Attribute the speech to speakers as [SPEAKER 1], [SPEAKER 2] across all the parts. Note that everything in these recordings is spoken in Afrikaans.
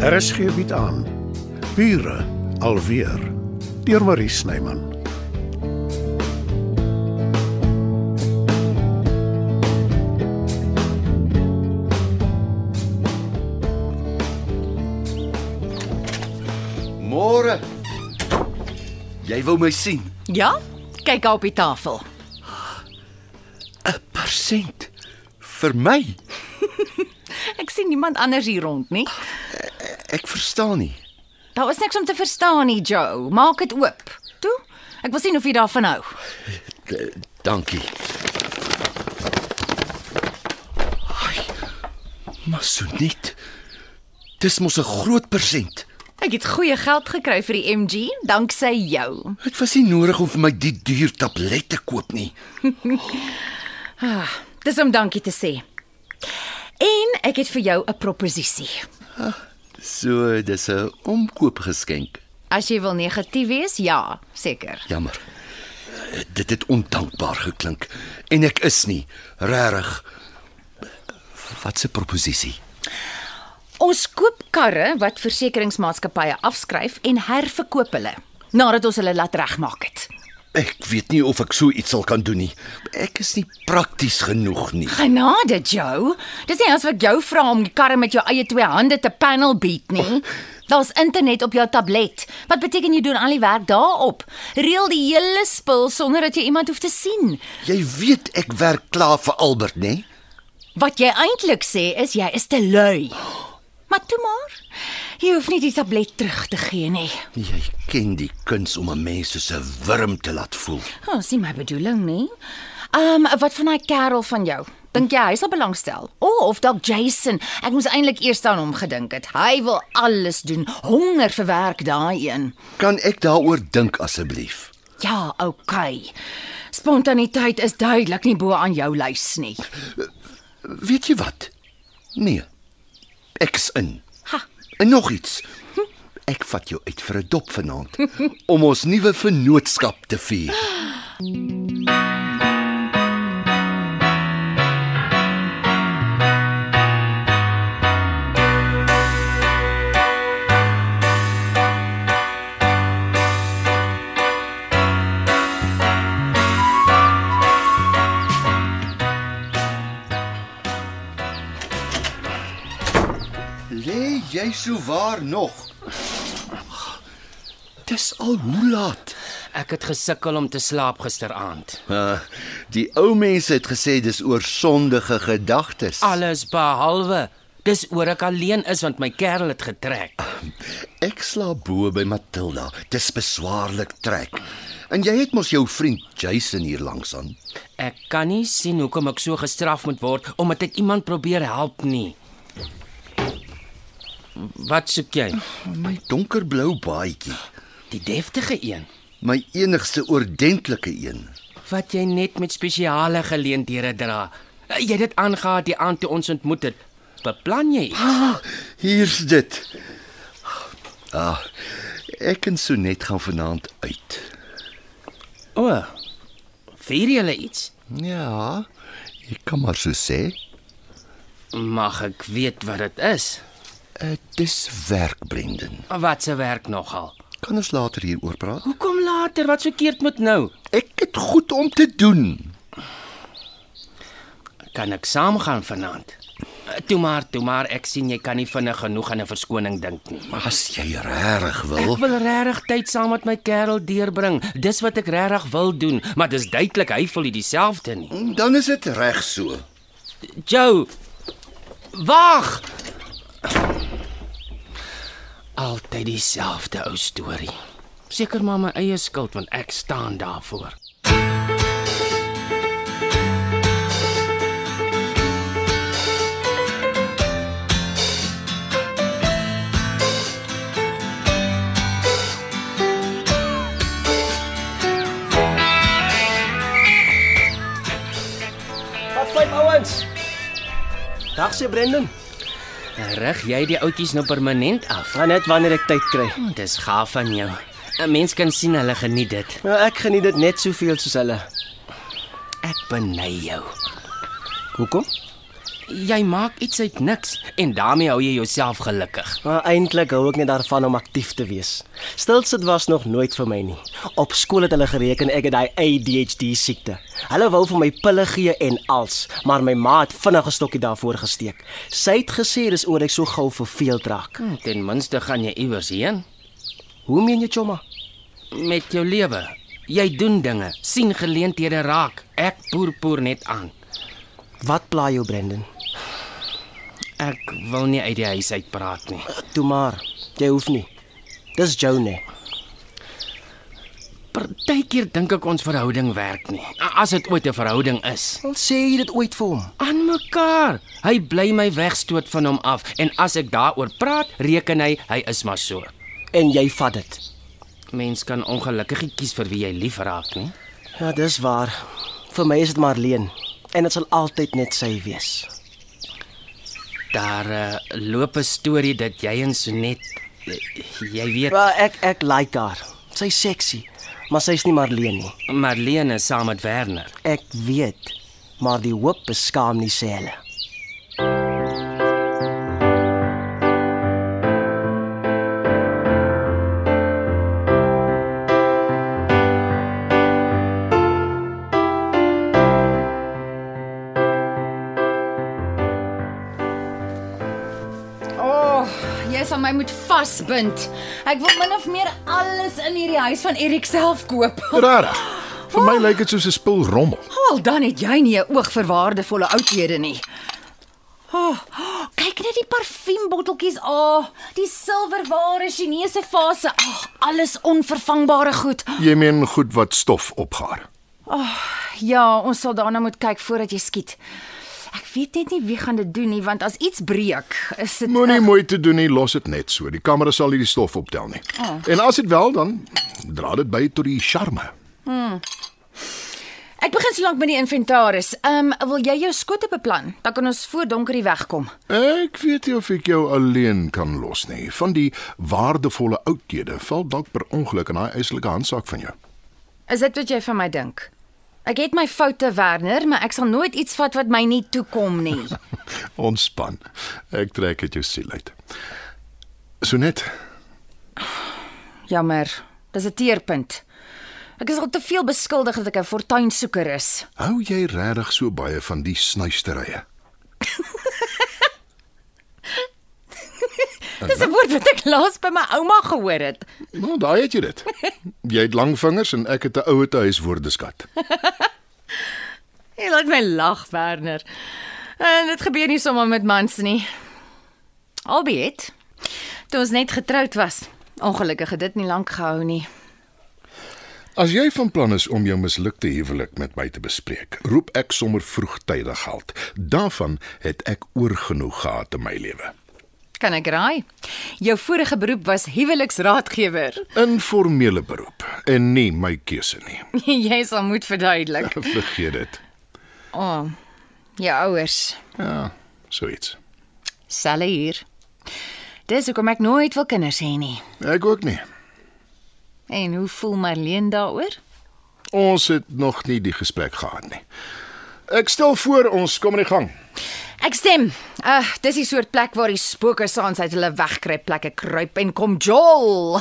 [SPEAKER 1] RSG bied aan. Bure alweer deur Marie Snyman.
[SPEAKER 2] Môre. Jy wou my sien.
[SPEAKER 3] Ja? Kyk daar op die tafel.
[SPEAKER 2] 'n Persent vir my.
[SPEAKER 3] Ek sien niemand anders hier rond nie.
[SPEAKER 2] Ek verstaan nie.
[SPEAKER 3] Daar is niks om te verstaan nie, Joe. Maak dit oop. Toe. Ek wil sien of jy daarvan hou.
[SPEAKER 2] D dankie. Ai. Maar so net. Dis mos 'n groot persent.
[SPEAKER 3] Ek het goeie geld gekry vir die MG danksy jou.
[SPEAKER 2] Dit was nie nodig om vir my die duur tablet te koop nie.
[SPEAKER 3] Dis om dankie te sê. En ek het vir jou 'n proposisie.
[SPEAKER 2] So, dis 'n omkoopgeskenk.
[SPEAKER 3] As jy wil negatief wees, ja, seker.
[SPEAKER 2] Jammer. Dit het ondankbaar geklink en ek is nie regtig wat se proposisie.
[SPEAKER 3] Ons koop karre wat versekeringsmaatskappye afskryf en herverkoop hulle nadat ons hulle laat regmaak het.
[SPEAKER 2] Ek weet nie of ek so iets sal kan doen nie. Ek is nie prakties genoeg nie.
[SPEAKER 3] Genade, Joe. Dis nie as wat jou vra om die karre met jou eie twee hande te panel beat nie. Daar's internet op jou tablet. Wat beteken jy doen al die werk daarop? Reël die hele spul sonder dat jy iemand hoef te sien.
[SPEAKER 2] Jy weet ek werk klaar vir Albert, né?
[SPEAKER 3] Wat jy eintlik sê is jy is te lui. Maar toe maar. Jy hoef nie die tablet terug te gee nie.
[SPEAKER 2] Jy ken die kuns om 'n mens soos 'n wurm te laat voel.
[SPEAKER 3] Oh, dis nie my bedoeling nie. Ehm um, wat van daai kerel van jou? Dink jy hy sal belangstel? O, oh, of dalk Jason. Ek moes eintlik eers aan hom gedink het. Hy wil alles doen. Honger vir werk daai een.
[SPEAKER 2] Kan ek daaroor dink asseblief?
[SPEAKER 3] Ja, okay. Spontaniteit is duidelik nie bo aan jou lys nie.
[SPEAKER 2] Weet jy wat? Nee. Ek is in.
[SPEAKER 3] Ha.
[SPEAKER 2] En nog iets. Ek vat jou uit vir 'n dop vanaand om ons nuwe vennootskap te vier. Lê jy so waar nog? Dis al hoe laat?
[SPEAKER 4] Ek het gesukkel om te slaap gisteraand.
[SPEAKER 2] Uh, die ou mense het gesê dis oor sondige gedagtes.
[SPEAKER 4] Alles behalwe dis oor ek alleen is want my kerel het getrek.
[SPEAKER 2] Ek slaap bo by Matilda. Dis beswaarlik trek. En jy het mos jou vriend Jason hier langs aan.
[SPEAKER 4] Ek kan nie sien hoekom ek so gestraf moet word omdat ek iemand probeer help nie. Wat soek jy?
[SPEAKER 2] My donkerblou baadjie,
[SPEAKER 4] Die deftige een
[SPEAKER 2] my enigste oordentlike een.
[SPEAKER 4] wat jy net met spesiale geleenthede dra. Jy het dit aangehad die aand toe ons ontmoet het. Beplan jy? iets?
[SPEAKER 2] Ah, hier's dit. Ah, ek en Sonet gaan vanaand uit.
[SPEAKER 4] O. Vier jy iets?
[SPEAKER 2] Ja, ek kan maar so sê.
[SPEAKER 4] Mag ek weet wat dit is?
[SPEAKER 2] Uh, dis werk, Brendan.
[SPEAKER 4] Wat se werk nogal?
[SPEAKER 2] Kan ons later hieroor praat?
[SPEAKER 4] Hoekom later? Wat verkeerd met nou?
[SPEAKER 2] Ek het goed om te doen.
[SPEAKER 4] Kan ek saamgaan vanaand? Eh, Toe maar, toe maar, ek sien jy kan nie vinnig genoeg aan 'n verskoning dink nie.
[SPEAKER 2] Maar as jy regtig wil,
[SPEAKER 4] Ek wil regtig tyd saam met my kerel deurbring. Dis wat ek regtig wil doen, maar dis duidelik hy voel nie dieselfde nie.
[SPEAKER 2] dan is dit reg so.
[SPEAKER 4] Joe. Wag. Altyd dieselfde ou storie. Seker maar my eie skuld want ek staan daarvoor.
[SPEAKER 5] Wat vyf ouens. Dag se Brendan.
[SPEAKER 4] Rig Eh, jy die ouetjies nou permanent af? Hm,
[SPEAKER 5] Maar net wanneer ek tyd kry.
[SPEAKER 4] Dis gaaf van jou. 'n Mens kan sien hulle geniet dit.
[SPEAKER 5] Nou ek geniet dit net soveel soos hulle.
[SPEAKER 4] Ek beny jou.
[SPEAKER 5] Hoekom?
[SPEAKER 4] Jy maak iets uit niks en daarmee hou jy jouself gelukkig.
[SPEAKER 5] Maar eintlik Nou, hou ek net daarvan om aktief te wees. Stilsit was nog nooit vir my nie. Op skool het hulle gereken ek het daai ADHD siekte. Hulle wou vir my pille gee en als, maar my ma het vinnig 'n stokkie daarvoor gesteek. Sy het gesê dis oor ek so gou verveeld raak.
[SPEAKER 4] Hm, Ten minste gaan jy iewers heen
[SPEAKER 5] Hoe meen jy, Choma?
[SPEAKER 4] met jou lewe. Jy doen dinge, sien geleenthede raak. Ek poer poer net aan.
[SPEAKER 5] Wat pla jou, Brendan?
[SPEAKER 4] Ek wil nie uit die huis uit praat nie.
[SPEAKER 5] Toe maar, jy hoef nie. Dis Jone.
[SPEAKER 4] Partykeer dink ek ons verhouding werk nie. A- As dit ooit 'n verhouding is.
[SPEAKER 5] Ons sê jy dit ooit vir hom.
[SPEAKER 4] Aan mekaar. Hy bly my wegstoot van hom af en as ek daaroor praat, reken hy hy is maar so.
[SPEAKER 5] En jy vat dit.
[SPEAKER 4] Mens kan ongelukkig kies vir wie jy lief raak, nie?
[SPEAKER 5] Ja, dis waar. Vir my is dit maar leen en dit sal altyd net sy wees.
[SPEAKER 4] Daar uh, loop 'n storie dat jy en Sonet eh, jy weet
[SPEAKER 5] Wel, ek ek like haar. Sy's sexy, maar sy's nie Marlene nie.
[SPEAKER 4] Marlene is saam met Werner.
[SPEAKER 5] Ek weet, maar die hoop beskaam nie sê hulle.
[SPEAKER 3] O, oh, jy sal my moet vasbind. Ek wil min of meer alles in hierdie huis van Erik self koop.
[SPEAKER 1] Rarig. Vir my lyk dit soos 'n spul rommel.
[SPEAKER 3] Al dan het jy nie 'n oog vir waardevolle oudhede nie. Oh, kyk net die parfuumbotteltjies. O, oh, die silwerware Chinese vase. Ag, oh, alles onvervangbare goed.
[SPEAKER 1] Jy meen goed wat stof opgaar.
[SPEAKER 3] Ja, ons sal daarna moet kyk voordat jy skiet. Ek weet net nie wie gaan dit doen nie, want as iets breek, is dit
[SPEAKER 1] Moenie moeite doen nie, los dit net so. Die kamera sal nie die stof optel nie. En as dit wel dan dra dit by tot die charme.
[SPEAKER 3] Ek begin solank met die inventaris. Ehm, um, wil jy jou skote beplan? Dan kan ons voor donker die weg kom.
[SPEAKER 1] Ek weet nie of ek jou alleen kan los nie. Van die waardevolle oudhede val dalk per ongeluk in daai eislike handsak van jou.
[SPEAKER 3] Is dit wat jy van my dink? Ek het my foute, Werner, maar ek sal nooit iets vat wat my nie toekom nie.
[SPEAKER 1] Ontspan. Ek trek dit jou siel uit. So net.
[SPEAKER 3] Jammer. Dis 'n teerpunt. Ek is al te veel beskuldig dat ek 'n fortuinsoeker is.
[SPEAKER 1] Hou jy regtig so baie van die snuisterye?
[SPEAKER 3] Dis 'n woord wat ek laas by my ouma gehoor het.
[SPEAKER 1] Nou, daai het jy dit. Jy het lang vingers en ek het 'n ouete huiswoordeskat.
[SPEAKER 3] Jy laat my lag, Werner. En dit gebeur nie sommer met mans nie. Albeet. Toe ons net getroud was. Ongelukkig het dit nie lank gehou nie.
[SPEAKER 1] As jy van plan is om jou mislukte huwelik met my te bespreek, roep ek sommer vroegtydig geld. Daarvan het ek oorgenoeg gehad in my lewe.
[SPEAKER 3] Kan ek raai? Jou vorige beroep was huweliksraadgewer.
[SPEAKER 1] Informele beroep en nie my keuse nie.
[SPEAKER 3] Jy sal moet verduidelik.
[SPEAKER 1] Vergeet dit.
[SPEAKER 3] O, oh, jou ouers,
[SPEAKER 1] Ja, so iets.
[SPEAKER 3] selle hier. Dis hoekom ek nooit wil kinders hê nie.
[SPEAKER 1] Ek ook nie.
[SPEAKER 3] En hoe voel Marlene daaroor?
[SPEAKER 1] Ons het nog nie die gesprek gehad nie. Ek stel voor ons kom in die gang.
[SPEAKER 3] Ek stem. Ag, uh, dis die soort plek waar die spooke saans uit hulle wegkruip plekke kruip en kom jol.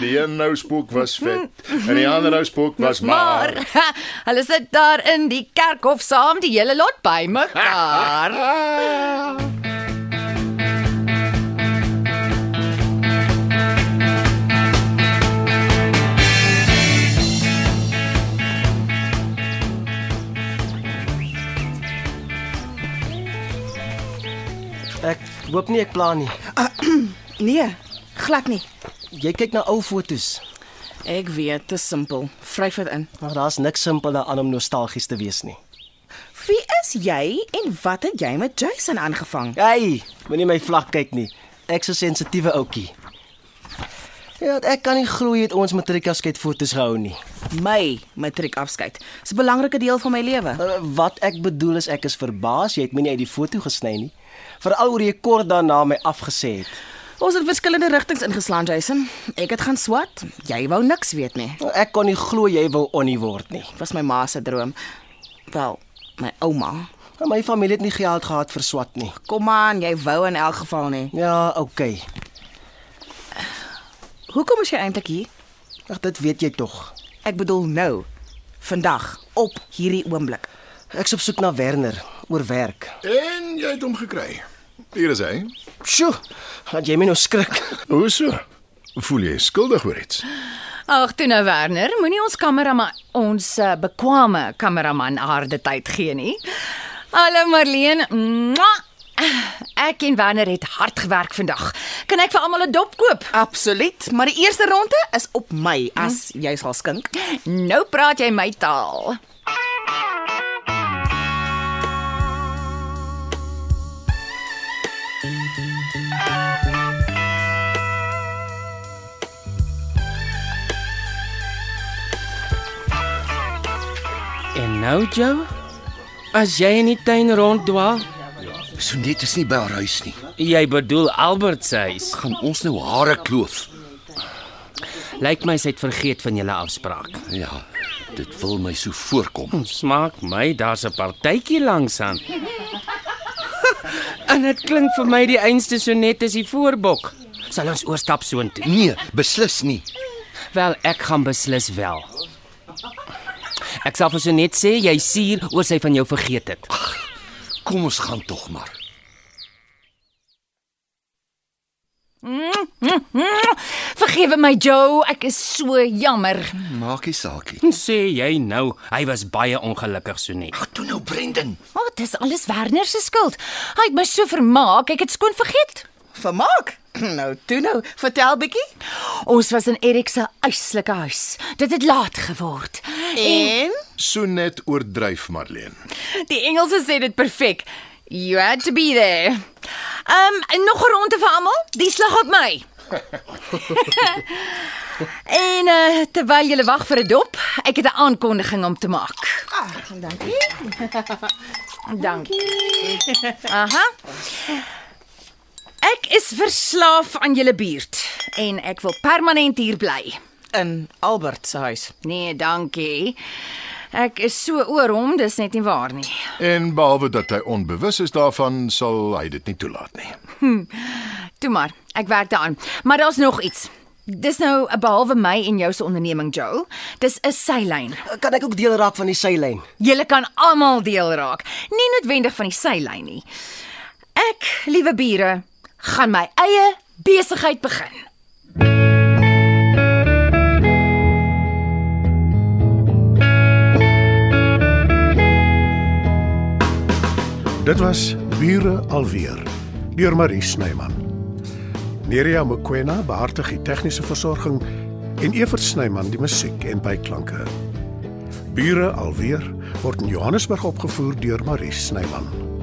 [SPEAKER 1] Die een nou spook was vet en die ander nou spook was
[SPEAKER 3] maar ha, hulle sit daar in die kerkhof saam die hele lot by mekaar.
[SPEAKER 5] Ek hoop nie ek pla nie.
[SPEAKER 6] Nee, glad nie.
[SPEAKER 5] Jy kyk na ou fotos,
[SPEAKER 6] Ek weet, dit is simpel. Vryf dit in.
[SPEAKER 5] maar daar's niks simpel daaraan om nostalgies te wees nie.
[SPEAKER 6] Wie is jy en wat het jy met Jason aangevang?
[SPEAKER 5] Hey, moenie my vlak kyk nie. Ek's 'n sensitiewe ouetjie. Ja, ek kan nie glo jy het ons matriekasket fotos gehou nie.
[SPEAKER 6] My matriek afskeid. Dis 'n belangrike deel van my lewe.
[SPEAKER 5] Uh, wat ek bedoel is ek is verbaas jy het my nie uit die foto gesny nie. Veral oor jy kort daarna my afgesê het.
[SPEAKER 6] Ons het verskillende rigtings ingeslaan, Jason. Ek het gaan swat. Jy wou niks weet nie.
[SPEAKER 5] Nou, Ek kon nie glo jy wou onnie word nie.
[SPEAKER 6] Was my ma se droom. Wel, my ouma.
[SPEAKER 5] Maar my familie het nie geld gehad vir swat nie.
[SPEAKER 6] Kom aan, jy wou in elk geval nie.
[SPEAKER 5] Ja, okay.
[SPEAKER 6] Hoekom is jy eintlik hier?
[SPEAKER 5] Ag dit weet jy tog.
[SPEAKER 6] Ek bedoel nou. Vandag, op hierdie oomblik.
[SPEAKER 5] Ek's op soek na Werner oor werk.
[SPEAKER 1] En jy het hom gekry. Hier is hy.
[SPEAKER 5] Sjoe, laat jy my nou skrik.
[SPEAKER 1] Hoe so? Voel jy skuldig oor iets?
[SPEAKER 3] Ag, toe nou Werner, moenie ons kameraman ons uh, bekwame kameraman harde tyd gee nie. Hallo Marleen. Mwah! Ek en Werner het hard gewerk vandag. Kan ek vir almal 'n dop koop?
[SPEAKER 6] Absoluut, maar die eerste ronde is op my as jy sal skink.
[SPEAKER 3] Nou praat jy my taal.
[SPEAKER 4] En nou, Joe, as jy in die tuin ronddwaal,
[SPEAKER 2] So net is nie by haar huis nie.
[SPEAKER 4] jy bedoel Albert se huis.
[SPEAKER 2] Gaan ons nou hare kloof.
[SPEAKER 4] Lyk my sy het vergeet van julle afspraak.
[SPEAKER 2] Ja, dit wil my so voorkom.
[SPEAKER 4] Smaak my, daar's 'n partytjie langs aan. en dit klink vir my die einste so net as die voorbok. Sal ons oorstap soontoe?
[SPEAKER 2] Nee, beslis nie.
[SPEAKER 4] Wel, ek gaan beslis wel. Ek sal vir so net sê jy suur oor sy van jou vergeet het.
[SPEAKER 2] Kom ons gaan tog maar.
[SPEAKER 3] Vergewe my Joe, ek is so jammer.
[SPEAKER 2] Maak nie saakie.
[SPEAKER 4] Sê jy nou, hy was baie ongelukkig so net.
[SPEAKER 2] Wat doen nou Brendan?
[SPEAKER 3] O, oh, dis alles Werner se skuld. Hy het my so vermaak, ek het skoon vergeet.
[SPEAKER 6] Vermaak. Nou, toe nou, vertel bietjie.
[SPEAKER 3] Ons was in Erik se eislike huis. Dit het laat geword.
[SPEAKER 6] En
[SPEAKER 1] So net oordryf, Marlene.
[SPEAKER 3] Die Engelse sê dit perfek. You had to be there. Ehm um, nog 'n ronde vir almal. Die slag op my. en uh, terwyl julle wag vir 'n dop, ek het 'n aankondiging om te maak. Ag, dankie. dankie. Aha. Ek is verslaaf aan julle buurt en ek wil permanent hier bly.
[SPEAKER 6] in Albert se huis.
[SPEAKER 3] Nee, dankie. Ek is so oor hom, dis net nie waar nie.
[SPEAKER 1] En behalwe dat hy onbewus is daarvan, sal hy dit nie toelaat nie.
[SPEAKER 3] Toe maar, ek werk daaraan. Maar daar's nog iets. Dis nou behalwe my en jou se onderneming, Joe. Dis 'n seilyn.
[SPEAKER 5] Kan ek ook deel raak van die seilyn?
[SPEAKER 3] Julle kan almal deel raak, nie noodwendig van die seilyn nie. Ek, liewe bure, gaan my eie besigheid begin.
[SPEAKER 7] Dit was Bure alweer deur Marie Snyman. Nerea Mkwena behartig die tegniese versorging en Evert Snyman die musiek en byklanke. Bure alweer word in Johannesburg opgevoer deur Marie Snyman.